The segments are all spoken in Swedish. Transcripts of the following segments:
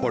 Har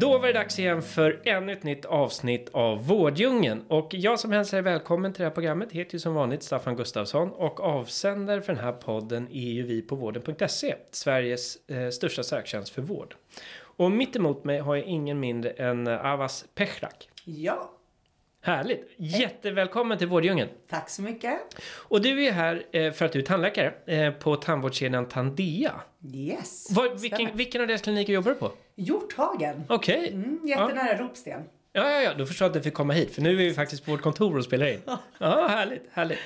Då var det dags igen för ännu ett nytt avsnitt av Vårdjungeln. Och jag som hälsar er välkommen till det här programmet heter ju som vanligt Staffan Gustafsson och avsändare för den här podden är ju vi på vården.se, Sveriges eh, största söktjänst för vård. Och mitt emot mig har jag ingen mindre än eh, Avas Pechrak. Ja, Härligt! Jättevälkommen till Vårdjungeln! tack så mycket. Och du är här eh, för att du är tandläkare eh, på tandvårdskedjan Tandea. Yes. Var, vilken, Stämmer. vilken av deras kliniker jobbar du på? Hjorthagen. Okej! Mm, Ja. jättenära Ropsten. Ja, ja, ja, då förstår jag att du fick komma hit för nu är vi faktiskt på vårt kontor och spelar in. Ja, härligt, härligt.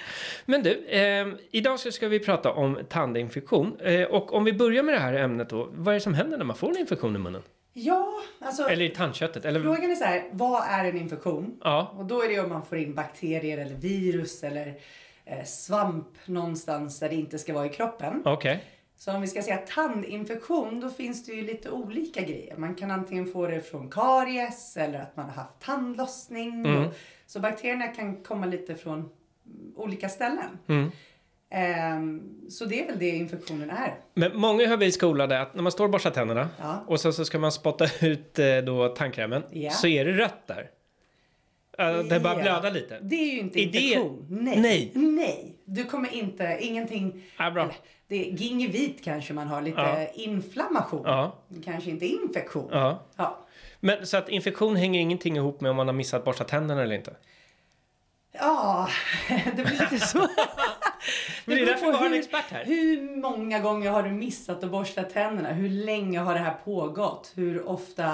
Men du, eh, idag så ska vi prata om tandinfektion. Eh, och om vi börjar med det här ämnet då, vad är det som händer när man får en infektion i munnen? Ja, alltså Eller i tandköttet? Eller, frågan är så här, vad är en infektion? ja, Och då är det om man får in bakterier eller virus eller eh, svamp någonstans där det inte ska vara i kroppen. okej. Så om vi ska säga tandinfektion, då finns det ju lite olika grejer. Man kan antingen få det från karies eller att man har haft tandlossning. Mm. Och, så bakterierna kan komma lite från mm, olika ställen. Mm. Ehm, så det är väl det infektionen är. Men många har blivit skolade att när man står och borstar tänderna Ja. och sen så ska man spotta ut eh, då tandkrämen Ja. så är det rött där. Eh, det bara Ja. blöda lite. Det är ju inte Är det- infektion. Nej. Nej. Nej. Du kommer inte, ingenting. Ja, bra. Det är gingivit kanske man har, lite Ja. inflammation. Ja. Kanske inte infektion. Ja. Ja. Men så att infektion hänger ingenting ihop med om man har missat borsta tänderna eller inte? Ja, det blir lite så. Men det är beror därför på vi har en hur- expert här. Hur många gånger har du missat att borsta tänderna? Hur länge har det här pågått? Hur ofta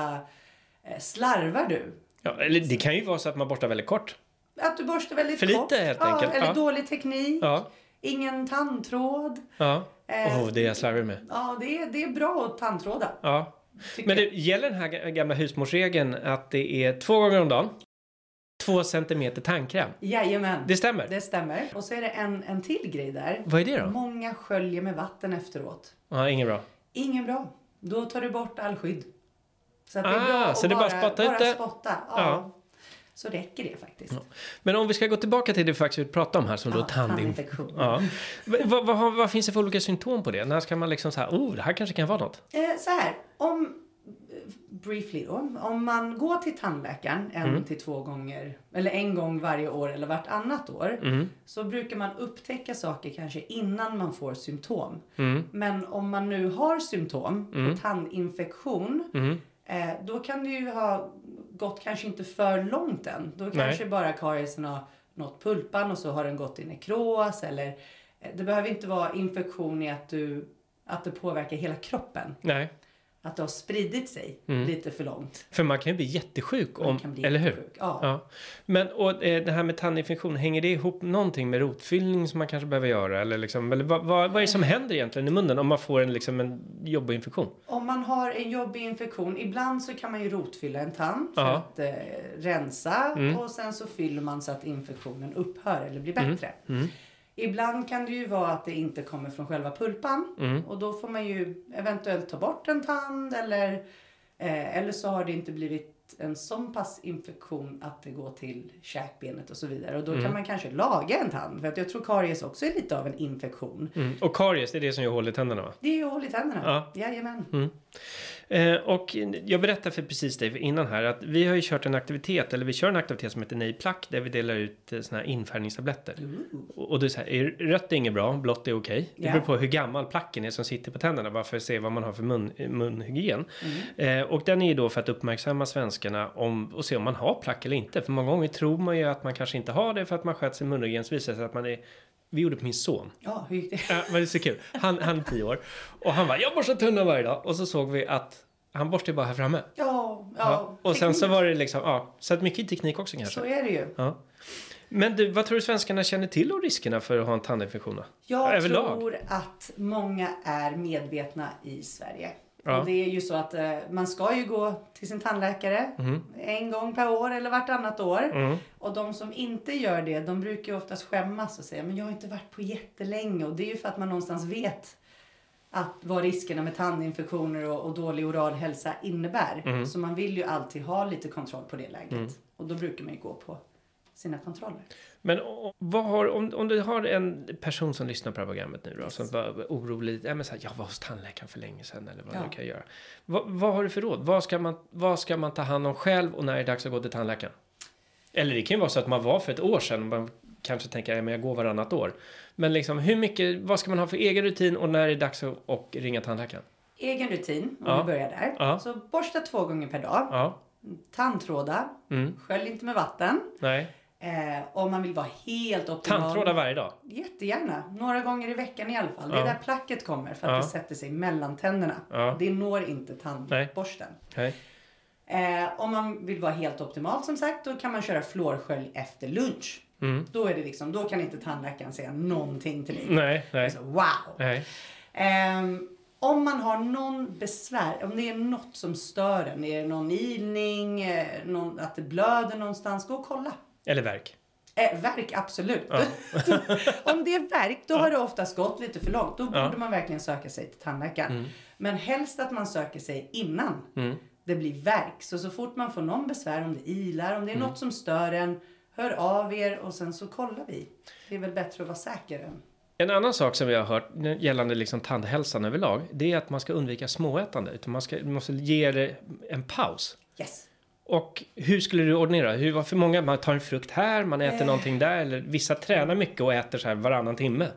eh, slarvar du? Ja, eller det kan ju vara så att man borstar väldigt kort. Att du borstar väldigt För kort? lite, helt ja, enkelt. Eller Ja. dålig teknik? Ja. Ingen tandtråd? Ja. Eh. Åh, det är jag slarvig med. Ja, det är, det är bra att tandtråda. Ja. tycker Men jag. det gäller den här ga- gamla husmorsregeln att det är två gånger om dagen, två centimeter tandkräm. Jajamän, Det stämmer? det stämmer. Och så är det en, en till grej där. Vad är det då? Många sköljer med vatten efteråt. Ja, inget bra. Ingen bra. Då tar du bort all skydd. Så att det Ah, är bra så att det är bara bara, att spotta ut bara det. spotta. Ja. Ja. Så räcker det faktiskt. Men om vi ska gå tillbaka till det vi faktiskt pratade om här som då Ja, tandinfektion. tandinfektion. Ja. V- Vad, vad, har- vad finns det för olika symptom på det? När ska man liksom så här, oh, det här kanske kan vara något? Eh, så här, om briefly då, om man går till tandläkaren en till två gånger eller en gång varje år eller vartannat år så brukar man upptäcka saker kanske innan man får symptom. Men om man nu har symptom på tandinfektion eh, då kan det ju ha gått kanske inte för långt än. Då kanske bara kariesen har nått pulpan och så har den gått i nekros eller eh, det behöver inte vara infektion i att du att det påverkar hela kroppen Nej, att det har spridit sig lite för långt. för man kan ju bli jättesjuk Man Mm. om, kan bli eller hur? jättesjuk, ja. Men och eh, det här med tandinfektion, hänger det ihop någonting med rotfyllning som man kanske behöver göra? Eller, liksom, eller vad, vad, vad är det som händer egentligen i munnen om man får en, liksom, en jobbig infektion? Om man har en jobbig infektion, ibland så kan man ju rotfylla en tand för Ja. Mm. att eh, rensa och sen så fyller man så att infektionen upphör eller blir bättre. Mm. Ibland kan det ju vara att det inte kommer från själva pulpan Mm. och då får man ju eventuellt ta bort en tand eller, eh, eller så har det inte blivit en sån pass infektion att det går till käkbenet och så vidare. Och då Mm. kan man kanske laga en tand. För att jag tror karies också är lite av en infektion. Mm. Och karies, det är det som gör hål i tänderna va? Det är ju hål i tänderna. Ja. Jajamän. Eh, och jag berättade för precis dig innan här att vi har ju kört en aktivitet, eller vi kör en aktivitet som heter Nej plack där vi delar ut eh, såna här infärgningstabletter. Och, och du säger, rött är inget bra, blått är okej. Det Ja. beror på hur gammal placken är som sitter på tänderna, bara för att se vad man har för mun, eh, munhygien. Mm. Eh, och den är ju då för att uppmärksamma svenskarna om, och se om man har plack eller inte. För många gånger tror man ju att man kanske inte har det för att man sköt sin munhygien, så visar det sig att man är vi gjorde på min son. Ja, hur gick det? Ja, men det är så kul. Han, han är tio år. Och han var jag borstar tunnan varje dag. Och så såg vi att han borstar ju bara här framme. Ja, ja. Ja. Och sen så var det liksom, ja. Så att mycket teknik också teknik. kanske. Så är det ju. Ja. Men du, vad tror du svenskarna känner till om riskerna för att ha en tandinfektion? då? Jag Överlag? tror att många är medvetna i Sverige. Ja. Och det är ju så att eh, man ska ju gå till sin tandläkare Mhm. en gång per år eller vartannat år. Och de som inte gör det, de brukar ju oftast skämmas och säga men jag har inte varit på jättelänge. Och det är ju för att man någonstans vet att vad riskerna med tandinfektioner och, och dålig oral hälsa innebär. Mhm. Så man vill ju alltid ha lite kontroll på det läget. Mm. Och då brukar man ju gå på sina kontroller. Men o- o- vad har, om, om du har en person som lyssnar på det här programmet nu då, som var orolig, ja, men så här, jag var hos tandläkaren för länge sedan eller vad Ja. du kan göra. Vad, vad har du för råd? Vad ska, man, vad ska man ta hand om själv och när är det dags att gå till tandläkaren? Eller det kan ju vara så att man var för ett år sedan och man kanske tänker, ja men jag går varannat år. Men liksom hur mycket, vad ska man ha för egen rutin och när är det dags att och ringa tandläkaren? Egen rutin, om Ja. vi börjar där. Ja. Så borsta två gånger per dag. Ja, Tandtråda. Mm. Skölj inte med vatten. nej. Eh, om man vill vara helt optimal. Tandtrådar varje dag? Jättegärna. Några gånger i veckan i alla fall. Det Ja. är där placket kommer för att Ja. det sätter sig mellan tänderna. Ja. Det når inte tandborsten. Nej. Eh, om man vill vara helt optimalt som sagt, då kan man köra fluorskölj efter lunch. Mm. Då, är det liksom, då kan inte tandläkaren säga någonting till dig. Nej, nej, Alltså, wow! nej. Ehm, om man har någon besvär, om det är något som stör en, är det någon ilning, eh, någon, att det blöder någonstans, gå och kolla. Eller verk. Eh, verk, absolut. om det är verk, då har det oftast gått lite för långt. Då borde man verkligen söka sig till tandläkaren. Men helst att man söker sig innan det blir verk. Så, så fort man får någon besvär, om det ilar, om det är något som stör en, hör av er och sen så kollar vi. Det är väl bättre att vara säker än... En annan sak som vi har hört gällande liksom tandhälsan överlag, det är att man ska undvika småätande. Utan man, ska, man måste ge det en paus. Yes! Och hur skulle du ordinera? Hur, varför många, man tar en frukt här, man Eh. äter någonting där, eller vissa tränar mycket och äter så här varannan timme.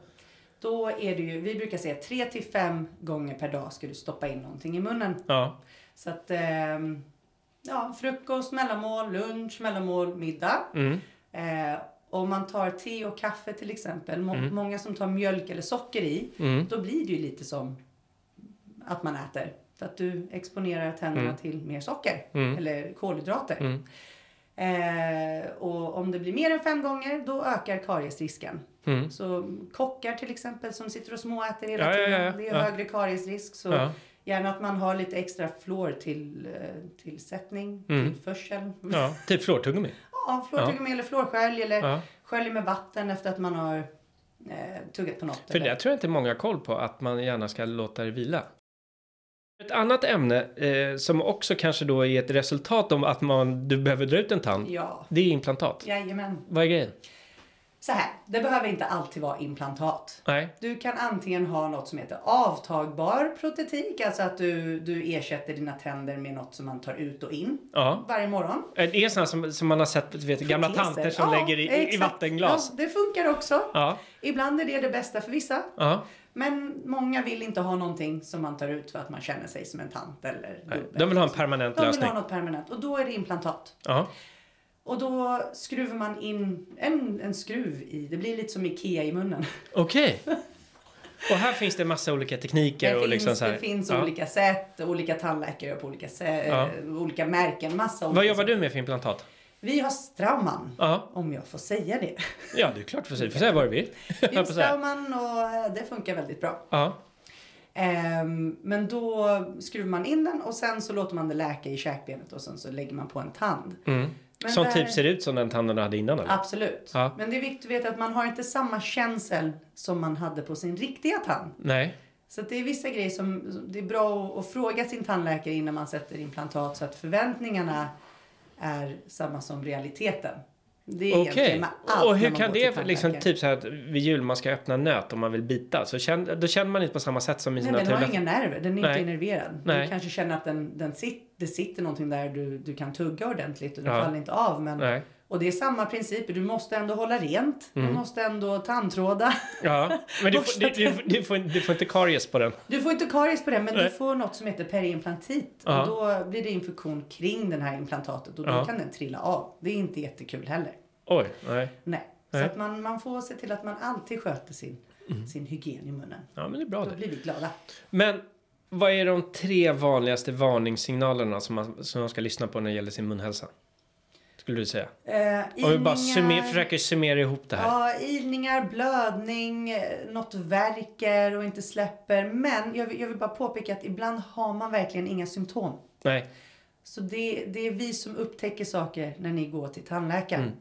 Då är det ju, vi brukar säga 3 till 5 gånger per dag ska du stoppa in någonting i munnen. Ja, Så att, ehm, ja, frukost, mellanmål, lunch, mellanmål, middag. mm, Eh, om man tar te och kaffe till exempel, må- många som tar mjölk eller socker i, mm, då blir det ju lite som att man äter. För att du exponerar tänderna till mer socker Mm. eller kolhydrater. Mm. Eh, och om det blir mer än fem gånger, då ökar kariesrisken. mm. Så kockar till exempel som sitter och småäter Ja, hela ja, tiden, ja, ja. det är Ja. högre kariesrisk. Så Ja. gärna att man har lite extra fluor till, eh, tillsättning, Mm. tillförsel. Ja, ja typ fluortuggummi. fluortuggummi eller fluorskölj eller Ja. skölj med vatten efter att man har eh, tuggat på något. För eller- det tror jag inte många har koll på, att man gärna ska låta det vila. Ett annat ämne eh, som också kanske då är ett resultat om att man, du behöver dra ut en tand, Ja, det är implantat. jajamän. Vad är grejen? Så här, det behöver inte alltid vara implantat. Nej. Du kan antingen ha något som heter avtagbar protetik, alltså att du, du ersätter dina tänder med något som man tar ut och in Ja. varje morgon. Eh, Det är sådana som, som man har sett, du vet, gamla Proteser. tanter som Ja, lägger i- i, i exakt. vattenglas. Ja, det funkar också. Ja. Ibland är det det bästa för vissa. Ja. Men många vill inte ha någonting som man tar ut för att man känner sig som en tant eller Nej, gubbe. liksom. De vill ha en permanent De vill lösning. ha något permanent och då är det implantat. Ja. Och då skruvar man in en, en skruv i, det blir lite som IKEA i munnen. Okej. Och här finns det massa olika tekniker det och finns, liksom så här. det finns ja. olika sätt, olika tandläkare på olika, sä- Ja. eh, olika märken, massa olika Vad jobbar sätt. du med för implantat? Vi har Straumann, Ja, om jag får säga det. ja det är klart för sig. Du får säga vad du vill. Vi Jag har får säga. Straumann och eh, det funkar väldigt bra. Ja. Ehm, men då skruvar man in den och sen så låter man det läka i käkbenet och sen så lägger man på en tand. Mm. Men Som där- typ ser ut som den tanden du hade innan eller? Absolut. Ja. Men det är viktigt att veta att man har inte samma känsel som man hade på sin riktiga tand. Nej. Så att det är vissa grejer som det är bra att, att fråga sin tandläkare innan man sätter implantat så att förväntningarna är samma som realiteten. Det är egentligen Okej. med allt Och när hur man kan går till det liksom tandläkaren. typ så här att vid jul man ska öppna nöt om man vill bita så känner, då känner man inte på samma sätt som i Nej, sina den har trevliga inga nerver. Den är Nej. inte innerverad. Nej. Du kanske känner att den, den sit, det sitter någonting där du, du kan tugga ordentligt och den Ja. faller inte av. Men, Nej. och det är samma principer. Du måste ändå hålla rent. Du Mm. måste ändå tandtråda. Ja, men du, får- Borsta du, du, du, får, du får inte karies på den. Du får inte karies på den, men Nej. du får något som heter periimplantit. Ja. Och då blir det infektion kring den här implantatet och då Ja. kan den trilla av. Det är inte jättekul heller. Oj, nej. Nej. Nej. Mm. Så att man, man får se till att man alltid sköter sin, sin hygien i munnen. Ja, men det är bra Då det. blir vi glada. Men vad är de tre vanligaste varningssignalerna som man, som man ska lyssna på när det gäller sin munhälsa? skulle du säga? Eh, Om vi bara summer, ilningar- försöker summera ihop det här. Ja, ilningar, blödning, eh, något värker och inte släpper. Men jag vill, jag vill bara påpeka att ibland har man verkligen inga symptom. Nej. Så det, det är vi som upptäcker saker när ni går till tandläkaren. Mm,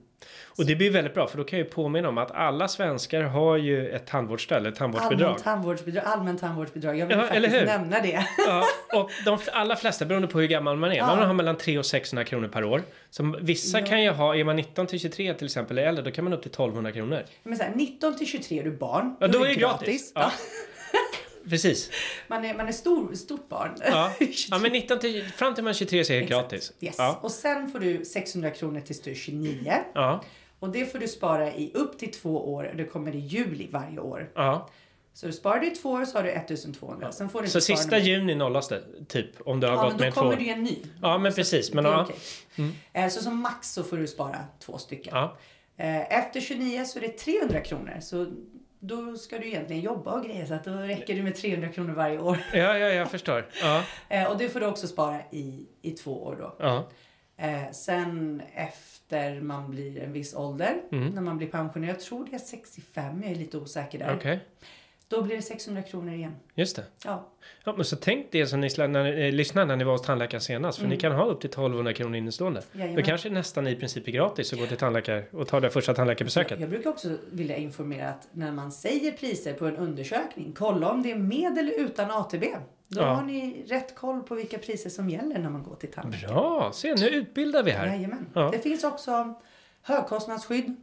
Och det blir väldigt bra för då kan jag ju påminna om att alla svenskar har ju ett tandvårdsstöd, ett tandvårdsbidrag. Allmänt tandvårdsbidrag. Allmänt tandvårdsbidrag. Jag vill Ja, faktiskt eller hur? nämna det. Ja, och de f- allra flesta, beroende på hur gammal man är, man har mellan 300 och 600 kronor per år. Så vissa kan ju ha, är man 19 till 23 till exempel, eller äldre, då kan man upp till 1200 kronor. Men så här, 19 till 23 är du barn. Ja, då är det gratis. Ja. Precis. Man, är, man är stor, stort barn. Ja. ja, men 19 till, fram till man är 23 så är det gratis. Yes. Ja. Och sen får du 600 kronor tills du är 29. Ja. Och det får du spara i upp till två år. Det kommer i juli varje år. ja. Så du sparar du i två år så har du 1200. Sen får du Så inte spara sista något mer. juni nollas det, typ, om du har Ja, gått men då med två år. kommer det ju en ny. Ja, men precis. Men, det är ja. Mm. okej. Eh, Så som max så får du spara två stycken. Ja. Eh, Efter 29 så är det 300 kronor. Så då ska du egentligen jobba och grejer så att då räcker det med 300 kronor varje år. Ja, ja, jag förstår. Ja, Eh, Och det får du också spara i, i två år då. ja. Eh, Sen efter man blir en viss ålder, Mm. när man blir pensionär, jag tror det är 65, jag är lite osäker där. okej. Då blir det 600 kronor igen. Just det. Ja. Ja, men så tänk det som ni slä- när, ni- eh, lyssnar när ni var hos tandläkaren senast. För ni kan ha upp till 1200 kronor innestående. Då Mm. Jajamän. kanske det nästan i princip är gratis att gå till tandläkare och ta det första tandläkarbesöket. Jag brukar också vilja informera att när man säger priser på en undersökning, kolla om det är med eller utan ATB. Då Ja. har ni rätt koll på vilka priser som gäller när man går till tandläkaren. Bra! Se, nu utbildar vi här. Jajamän. Ja. Mm. Det finns också högkostnadsskydd.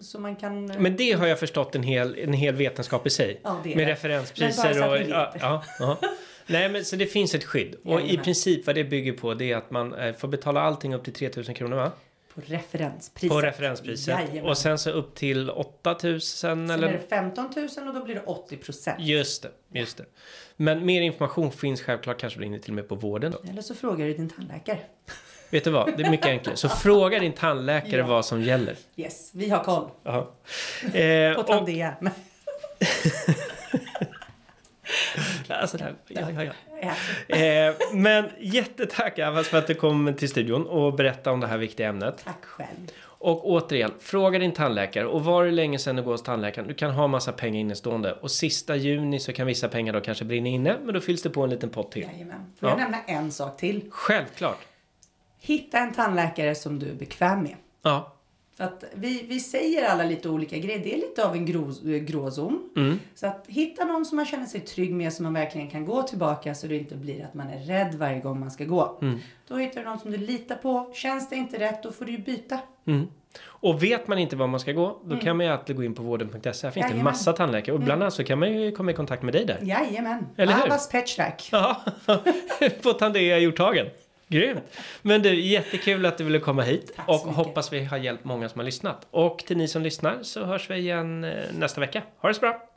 Så man kan... eh, Men det har jag förstått en hel, en hel vetenskap i sig. Ja, det med är det. Men bara referenspriser så och... att ni Ja, vet. ja, ja. Nej, men så det finns ett skydd. Och i Jajamän. princip vad det bygger på det är att man eh, får betala allting upp till 3000 kronor va? På referenspriset. På referenspriset. Jajamän. Och sen så upp till 8000 Sen är det eller... 15 000 och då blir det 80 procent. Just det, just det. Men mer information finns självklart kanske du ringer till och med på vården. Eller så frågar du din tandläkare. Vet du vad, det är mycket enklare. Så fråga din tandläkare vad som gäller. Yes, vi har koll. Ja. Eh, På och, Tandem. alltså, det här- ja, ja, ja. Ja. Eh, men jättetack Avas för att du kom till studion och berättade om det här viktiga ämnet. Tack själv. Och återigen, fråga din tandläkare. Och var det länge sedan du går hos tandläkaren? Du kan ha massa pengar innestående. Och sista juni så kan vissa pengar då kanske brinna inne, men då fylls det på en liten pott till. Jajamän. Får jag Ja. nämna en sak till? Självklart! Hitta en tandläkare som du är bekväm med. Ja, För att vi, vi säger alla lite olika grejer. Det är lite av en grå, gråzon. Mm. Så att hitta någon som man känner sig trygg med, som man verkligen kan gå tillbaka så det inte blir att man är rädd varje gång man ska gå. Mm. Då hittar du någon som du litar på. Känns det inte rätt, då får du ju byta. Mm. Och vet man inte var man ska gå, då kan man ju alltid gå in på vården.se. E. Här finns det Jajamän. massa tandläkare och bland annat så kan man ju komma i kontakt med dig där. Jajamän. Eller hur? Abbas Petrak. Ja, på Tandea i Hjorthagen. Grymt! Men du, jättekul att du ville komma hit Tack så och mycket. hoppas vi har hjälpt många som har lyssnat. Och till ni som lyssnar så hörs vi igen eh, nästa vecka. Ha det så bra!